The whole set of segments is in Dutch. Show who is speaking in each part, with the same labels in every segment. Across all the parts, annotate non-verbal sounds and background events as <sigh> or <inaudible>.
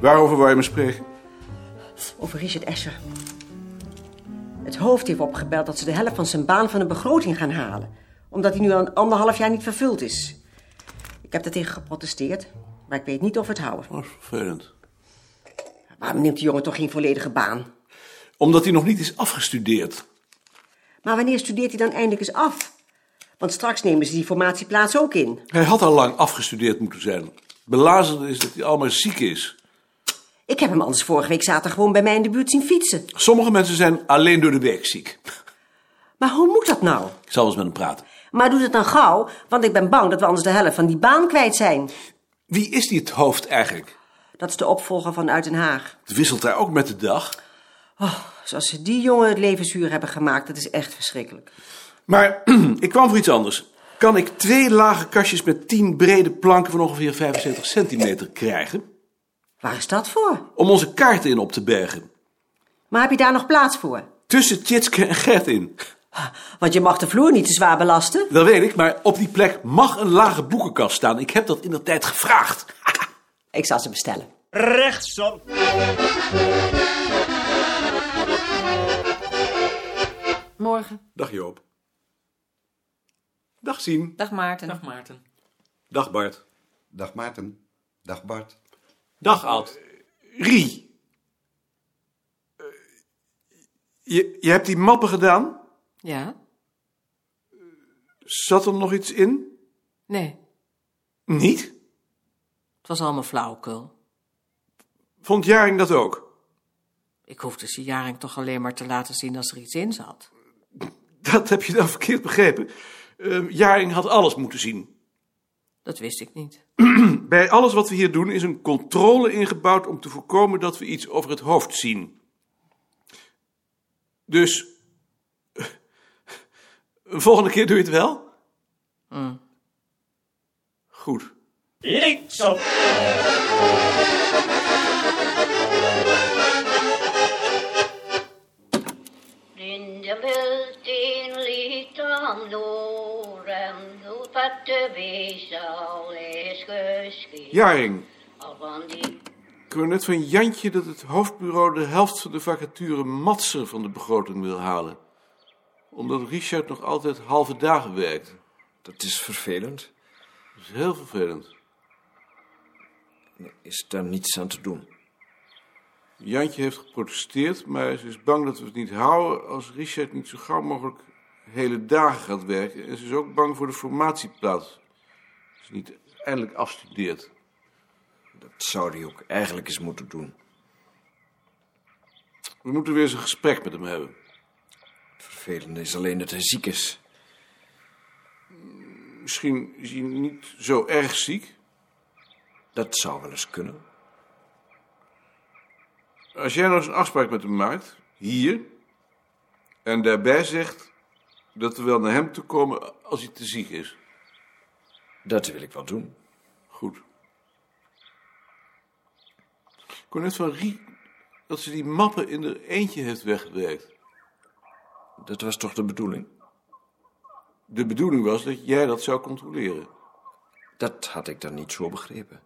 Speaker 1: Waarover wou je me spreken?
Speaker 2: Over Richard Escher. Het hoofd heeft opgebeld dat ze de helft van zijn baan van de begroting gaan halen. Omdat hij nu al een anderhalf jaar niet vervuld is. Ik heb daartegen geprotesteerd, maar ik weet niet of we het houden.
Speaker 1: Dat is Oh, vervelend.
Speaker 2: Waarom neemt die jongen toch geen volledige baan?
Speaker 1: Omdat hij nog niet is afgestudeerd.
Speaker 2: Maar wanneer studeert hij dan eindelijk eens af? Want straks nemen ze die formatieplaats ook in.
Speaker 1: Hij had al lang afgestudeerd moeten zijn. Belazerd is dat hij allemaal ziek is.
Speaker 2: Ik heb hem anders vorige week zaterdag gewoon bij mij in de buurt zien fietsen.
Speaker 1: Sommige mensen zijn alleen door de werk ziek.
Speaker 2: Maar hoe moet dat nou?
Speaker 1: Ik zal eens met hem praten.
Speaker 2: Maar doe het dan gauw, want ik ben bang dat we anders de helft van die baan kwijt zijn.
Speaker 1: Wie is die het hoofd eigenlijk?
Speaker 2: Dat is de opvolger van Uit Den Haag.
Speaker 1: Het wisselt daar ook met de dag.
Speaker 2: Zoals Dus ze die jongen het leven zuur hebben gemaakt, dat is echt verschrikkelijk.
Speaker 1: Maar <clears throat> ik kwam voor iets anders. Kan ik twee lage kastjes met tien brede planken van ongeveer 75 centimeter krijgen?
Speaker 2: Waar is dat voor?
Speaker 1: Om onze kaarten in op te bergen.
Speaker 2: Maar heb je daar nog plaats voor?
Speaker 1: Tussen Tjitske en Gert in.
Speaker 2: Want je mag de vloer niet te zwaar belasten.
Speaker 1: Dat weet ik, maar op die plek mag een lage boekenkast staan. Ik heb dat in de tijd gevraagd.
Speaker 2: Ik zal ze bestellen.
Speaker 3: Rechtsom.
Speaker 4: Morgen.
Speaker 1: Dag Joop. Dag Sien.
Speaker 4: Dag Maarten.
Speaker 5: Dag Maarten.
Speaker 1: Dag Bart.
Speaker 6: Dag Maarten. Dag Bart.
Speaker 5: Dag Ad.
Speaker 1: Rie. Eh, Je, je hebt die mappen gedaan.
Speaker 4: Ja?
Speaker 1: Zat er nog iets in?
Speaker 4: Nee,
Speaker 1: Niet?
Speaker 4: het was allemaal flauwekul.
Speaker 1: Vond Jaring dat ook?
Speaker 4: Ik hoefde ze Jaring toch alleen maar te laten zien als er iets in zat.
Speaker 1: Dat heb je dan verkeerd begrepen. Eh, Jaring had alles moeten zien.
Speaker 4: Dat wist ik niet.
Speaker 1: Bij alles wat we hier doen is een controle ingebouwd om te voorkomen dat we iets over het hoofd zien. Dus. <laughs> Een volgende keer doe je het wel? Goed.
Speaker 3: Linksom.
Speaker 7: In de multeen liet aan loren hoe wat de wees al is geschied.
Speaker 1: Jaring,
Speaker 7: Al van die
Speaker 1: ik hoor net van Jantje dat het hoofdbureau de helft van de vacature Matser van de begroting wil halen. Omdat Richard nog altijd halve dagen werkt.
Speaker 8: Dat is vervelend.
Speaker 1: Dat is heel vervelend.
Speaker 8: Is daar niets aan te doen?
Speaker 1: Jantje heeft geprotesteerd, maar ze is bang dat we het niet houden als Richard niet zo gauw mogelijk hele dagen gaat werken. En ze is ook bang voor de formatieplaats. Als ze niet eindelijk afstudeert.
Speaker 8: Dat zou hij ook eigenlijk eens moeten doen.
Speaker 1: We moeten weer eens een gesprek met hem hebben.
Speaker 8: Het vervelende is alleen dat hij ziek is.
Speaker 1: Misschien is hij niet zo erg ziek.
Speaker 8: Dat zou wel eens kunnen.
Speaker 1: Als jij nou eens een afspraak met hem maakt, hier, en daarbij zegt dat we wel naar hem toe komen als hij te ziek is.
Speaker 8: Dat wil ik wel doen.
Speaker 1: Goed. Ik hoor net van Rie dat ze die mappen in haar eentje heeft weggewerkt.
Speaker 8: Dat was toch de bedoeling?
Speaker 1: De bedoeling was dat jij dat zou controleren.
Speaker 8: Dat had ik dan niet zo begrepen.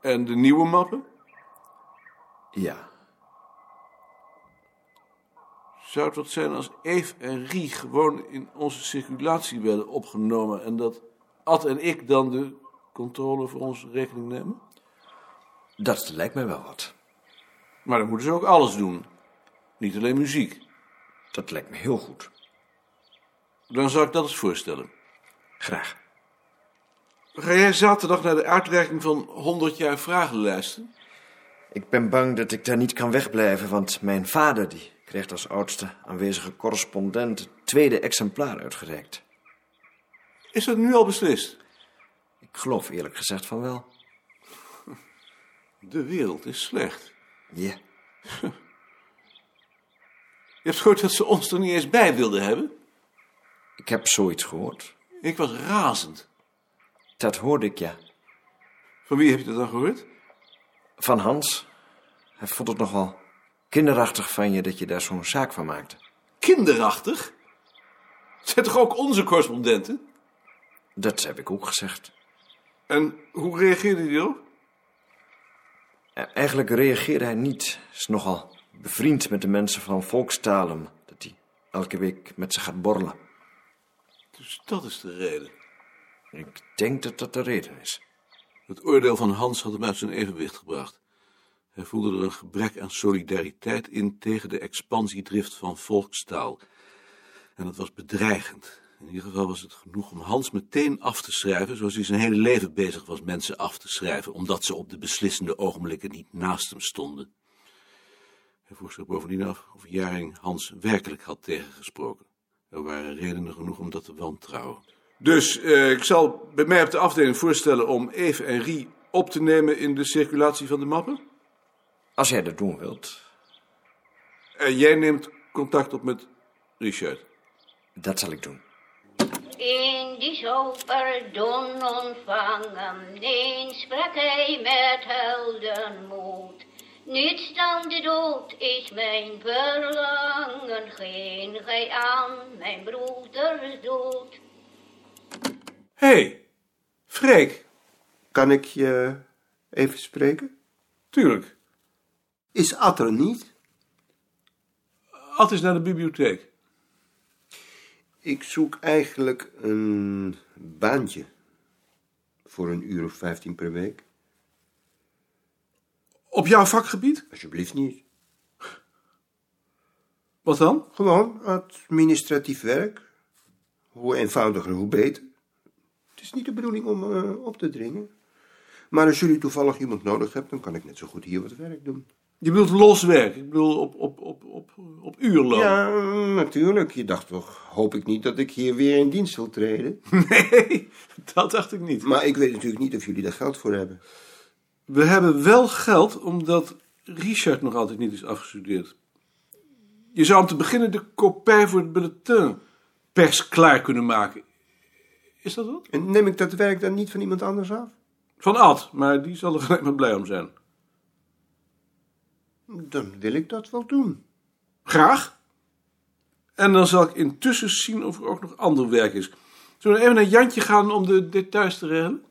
Speaker 1: En de nieuwe mappen?
Speaker 8: Ja,
Speaker 1: Zou het wat zijn als Eve en Rie gewoon in onze circulatie werden opgenomen... en dat Ad en ik dan de controle voor onze rekening nemen?
Speaker 8: dat lijkt mij wel wat.
Speaker 1: Maar dan moeten ze ook alles doen. Niet alleen muziek.
Speaker 8: Dat lijkt me heel goed.
Speaker 1: Dan zou ik dat eens voorstellen.
Speaker 8: Graag.
Speaker 1: Ga jij zaterdag naar de uitreiking van 100 jaar vragenlijsten?
Speaker 8: Ik ben bang dat ik daar niet kan wegblijven, want mijn vader die kreeg als oudste aanwezige correspondent het tweede exemplaar uitgereikt.
Speaker 1: Is dat nu al beslist?
Speaker 8: Ik geloof eerlijk gezegd van wel.
Speaker 1: De wereld is slecht.
Speaker 8: Ja.
Speaker 1: Je hebt gehoord dat ze ons er niet eens bij wilden hebben?
Speaker 8: Ik heb zoiets gehoord.
Speaker 1: Ik was razend.
Speaker 8: Dat hoorde ik, ja.
Speaker 1: Van wie heb je dat dan gehoord?
Speaker 8: Van Hans. Hij vond het nogal kinderachtig van je dat je daar zo'n zaak van maakte.
Speaker 1: Kinderachtig? Zijn toch ook onze correspondenten?
Speaker 8: Dat heb ik ook gezegd.
Speaker 1: En hoe reageerde die erop?
Speaker 8: E- Eigenlijk reageerde hij niet. Is nogal bevriend met de mensen van Volkstalen. Dat hij elke week met ze gaat borrelen.
Speaker 1: Dus dat is de reden.
Speaker 8: Ik denk dat dat de reden is.
Speaker 1: Het oordeel van Hans had hem uit zijn evenwicht gebracht. Hij voelde er een gebrek aan solidariteit in tegen de expansiedrift van volkstaal. En dat was bedreigend. In ieder geval was het genoeg om Hans meteen af te schrijven, zoals hij zijn hele leven bezig was mensen af te schrijven, omdat ze op de beslissende ogenblikken niet naast hem stonden. Hij vroeg zich bovendien af of Jaring Hans werkelijk had tegengesproken. Er waren redenen genoeg om dat te wantrouwen. Dus eh, ik zal bij mij op de afdeling voorstellen om Eve en Rie op te nemen in de circulatie van de mappen.
Speaker 8: Als jij dat doen wilt,
Speaker 1: En jij neemt contact op met Richard.
Speaker 8: dat zal ik doen.
Speaker 7: In die zoperdon ontvangen, eens sprak hij met heldenmoed. Niets dan de dood is mijn verlangen, geen gij aan mijn broeders dood.
Speaker 1: Hé, hey, Freek,
Speaker 5: Kan ik je even spreken?
Speaker 1: tuurlijk.
Speaker 5: Is Ad er niet?
Speaker 1: Ad is naar de bibliotheek.
Speaker 5: Ik zoek eigenlijk een baantje. Voor een uur of vijftien per week.
Speaker 1: Op jouw vakgebied?
Speaker 5: Alsjeblieft niet.
Speaker 1: Wat dan?
Speaker 5: Gewoon administratief werk. Hoe eenvoudiger, hoe beter. Het is niet de bedoeling om eh, op te dringen. Maar als jullie toevallig iemand nodig hebben, dan kan ik net zo goed hier wat werk doen.
Speaker 1: Je bedoelt loswerk. Ik bedoel op, op, op, op, op uurloon.
Speaker 5: Ja, natuurlijk. Je dacht toch, hoop ik niet dat ik hier weer in dienst wil treden.
Speaker 1: <laughs> Nee, dat dacht ik niet.
Speaker 5: Maar ik weet natuurlijk niet of jullie daar geld voor hebben.
Speaker 1: We hebben wel geld omdat Richard nog altijd niet is afgestudeerd. Je zou om te beginnen de kopij voor het bulletin pers klaar kunnen maken. Is dat wat?
Speaker 5: En neem ik dat werk dan niet van iemand anders af?
Speaker 1: Van Ad, maar die zal er <laughs> gelijk maar blij om zijn.
Speaker 5: Dan wil ik dat wel doen.
Speaker 1: Graag. En dan zal ik intussen zien of er ook nog ander werk is. Zullen we even naar Jantje gaan om de details te regelen?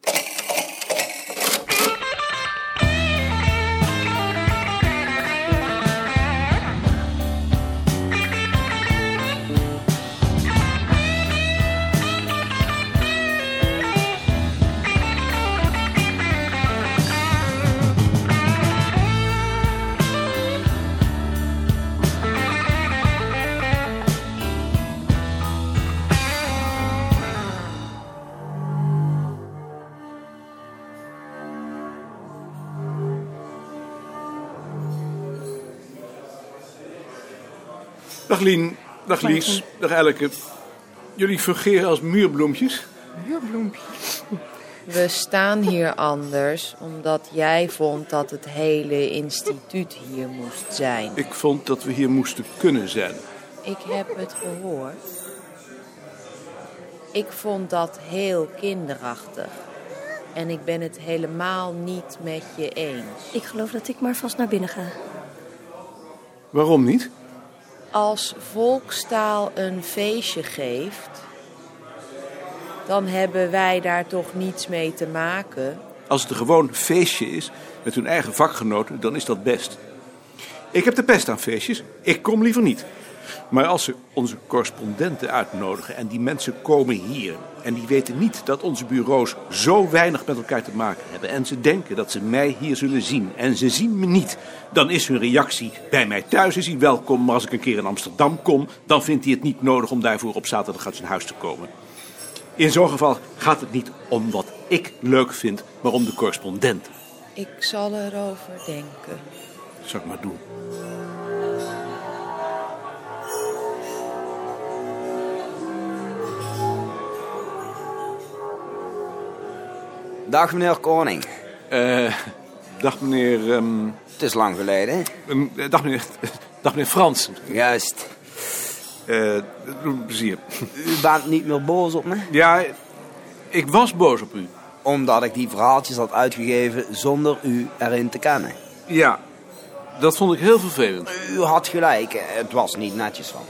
Speaker 1: Dag Lien, dag Lies, dag Elke. Jullie fungeren als muurbloempjes.
Speaker 9: We staan hier anders omdat jij vond dat het hele instituut hier moest zijn.
Speaker 1: Ik vond dat we hier moesten kunnen zijn.
Speaker 9: Ik heb het gehoord. Ik vond dat heel kinderachtig. En ik ben het helemaal niet met je eens.
Speaker 10: Ik geloof dat ik maar vast naar binnen ga.
Speaker 1: Waarom niet?
Speaker 9: Als volkstaal een feestje geeft, dan hebben wij daar toch niets mee te maken.
Speaker 1: Als het een gewoon feestje is met hun eigen vakgenoten, dan is dat best. Ik heb de pest aan feestjes. Ik kom liever niet. Maar als ze onze correspondenten uitnodigen en die mensen komen hier en die weten niet dat onze bureaus zo weinig met elkaar te maken hebben en ze denken dat ze mij hier zullen zien en ze zien me niet, dan is hun reactie bij mij thuis is hij welkom, maar als ik een keer in Amsterdam kom, dan vindt hij het niet nodig om daarvoor op zaterdag uit zijn huis te komen. In zo'n geval gaat het niet om wat ik leuk vind, maar om de correspondenten.
Speaker 9: Ik zal erover denken.
Speaker 1: Zal ik maar doen.
Speaker 6: Dag meneer Koning.
Speaker 1: Eh, dag meneer. ehm,
Speaker 6: Het is lang geleden.
Speaker 1: ehm, eh, dag meneer. <laughs> Dag meneer Frans.
Speaker 6: Juist.
Speaker 1: Eh, doe me plezier.
Speaker 6: U bent niet meer boos op me?
Speaker 1: Ja, ik was boos op u.
Speaker 6: Omdat ik die verhaaltjes had uitgegeven zonder u erin te kennen.
Speaker 1: Ja, dat vond ik heel vervelend.
Speaker 6: U had gelijk, het was niet netjes van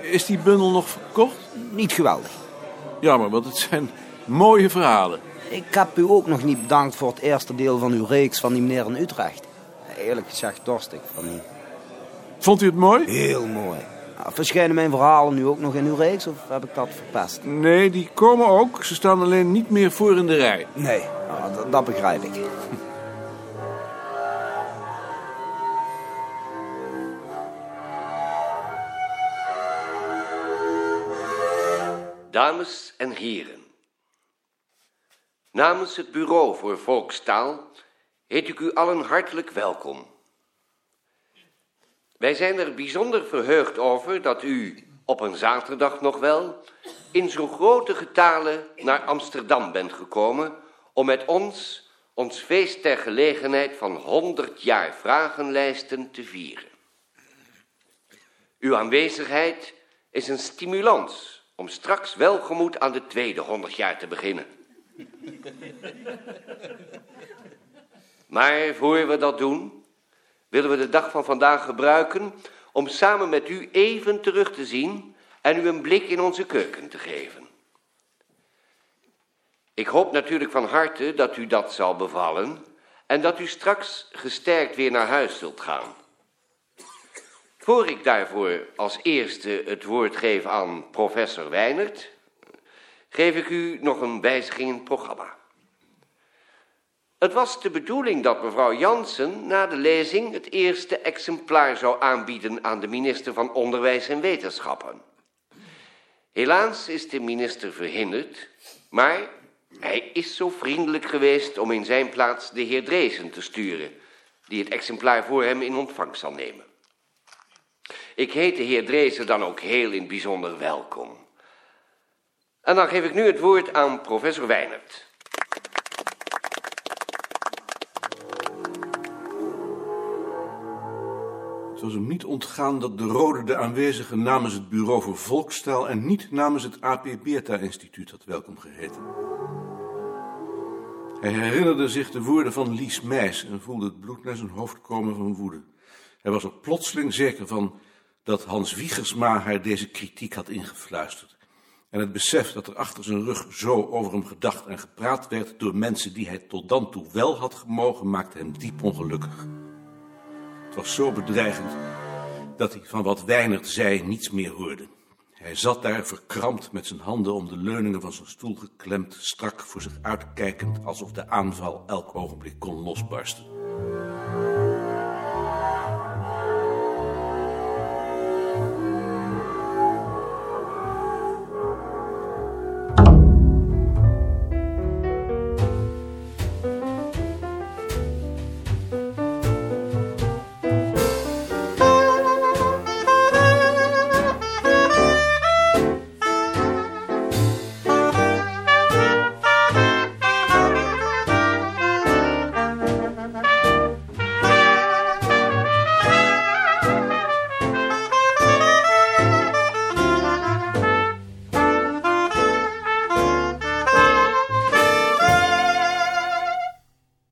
Speaker 6: me.
Speaker 1: Is die bundel nog verkocht?
Speaker 6: Niet geweldig.
Speaker 1: Jammer, want het zijn mooie verhalen.
Speaker 6: Ik heb u ook nog niet bedankt voor het eerste deel van uw reeks van die meneer in Utrecht. eerlijk gezegd dorst ik van niet.
Speaker 1: Vond u het mooi?
Speaker 6: Heel mooi. Nou, verschijnen mijn verhalen nu ook nog in uw reeks of heb ik dat verpest?
Speaker 1: Nee, die komen ook. Ze staan alleen niet meer voor in de rij.
Speaker 6: Nee, nou, dat, dat begrijp ik.
Speaker 11: Dames en heren, namens het Bureau voor Volkstaal heet ik u allen hartelijk welkom. Wij zijn er bijzonder verheugd over dat u, op een zaterdag nog wel, in zo grote getale naar Amsterdam bent gekomen om met ons ons feest ter gelegenheid van 100 jaar vragenlijsten te vieren. Uw aanwezigheid is een stimulans om straks welgemoed aan de tweede 100 jaar te beginnen. Maar voor we dat doen, willen we de dag van vandaag gebruiken om samen met u even terug te zien en u een blik in onze keuken te geven. Ik hoop natuurlijk van harte dat u dat zal bevallen en dat u straks gesterkt weer naar huis zult gaan. Voor ik daarvoor als eerste het woord geef aan professor Weinert, geef ik u nog een wijziging in het programma. Het was de bedoeling dat mevrouw Jansen na de lezing het eerste exemplaar zou aanbieden aan de minister van Onderwijs en Wetenschappen. Helaas is de minister verhinderd, maar hij is zo vriendelijk geweest om in zijn plaats de heer Dreesen te sturen, die het exemplaar voor hem in ontvangst zal nemen. Ik heet de heer Dreesen dan ook heel in het bijzonder welkom. En dan geef ik nu het woord aan professor Weinert.
Speaker 1: Het was hem niet ontgaan dat de Rode de aanwezigen namens het Bureau voor Volkstaal en niet namens het AP Beerta Instituut had welkom geheten. Hij herinnerde zich de woorden van Lies Meijs en voelde het bloed naar zijn hoofd komen van woede. Hij was er plotseling zeker van dat Hans Wiegersma haar deze kritiek had ingefluisterd. En het besef dat er achter zijn rug zo over hem gedacht en gepraat werd door mensen die hij tot dan toe wel had gemogen, maakte hem diep ongelukkig was zo bedreigend dat hij van wat Weinert zei niets meer hoorde. Hij zat daar verkrampt met zijn handen om de leuningen van zijn stoel geklemd, strak voor zich uitkijkend alsof de aanval elk ogenblik kon losbarsten.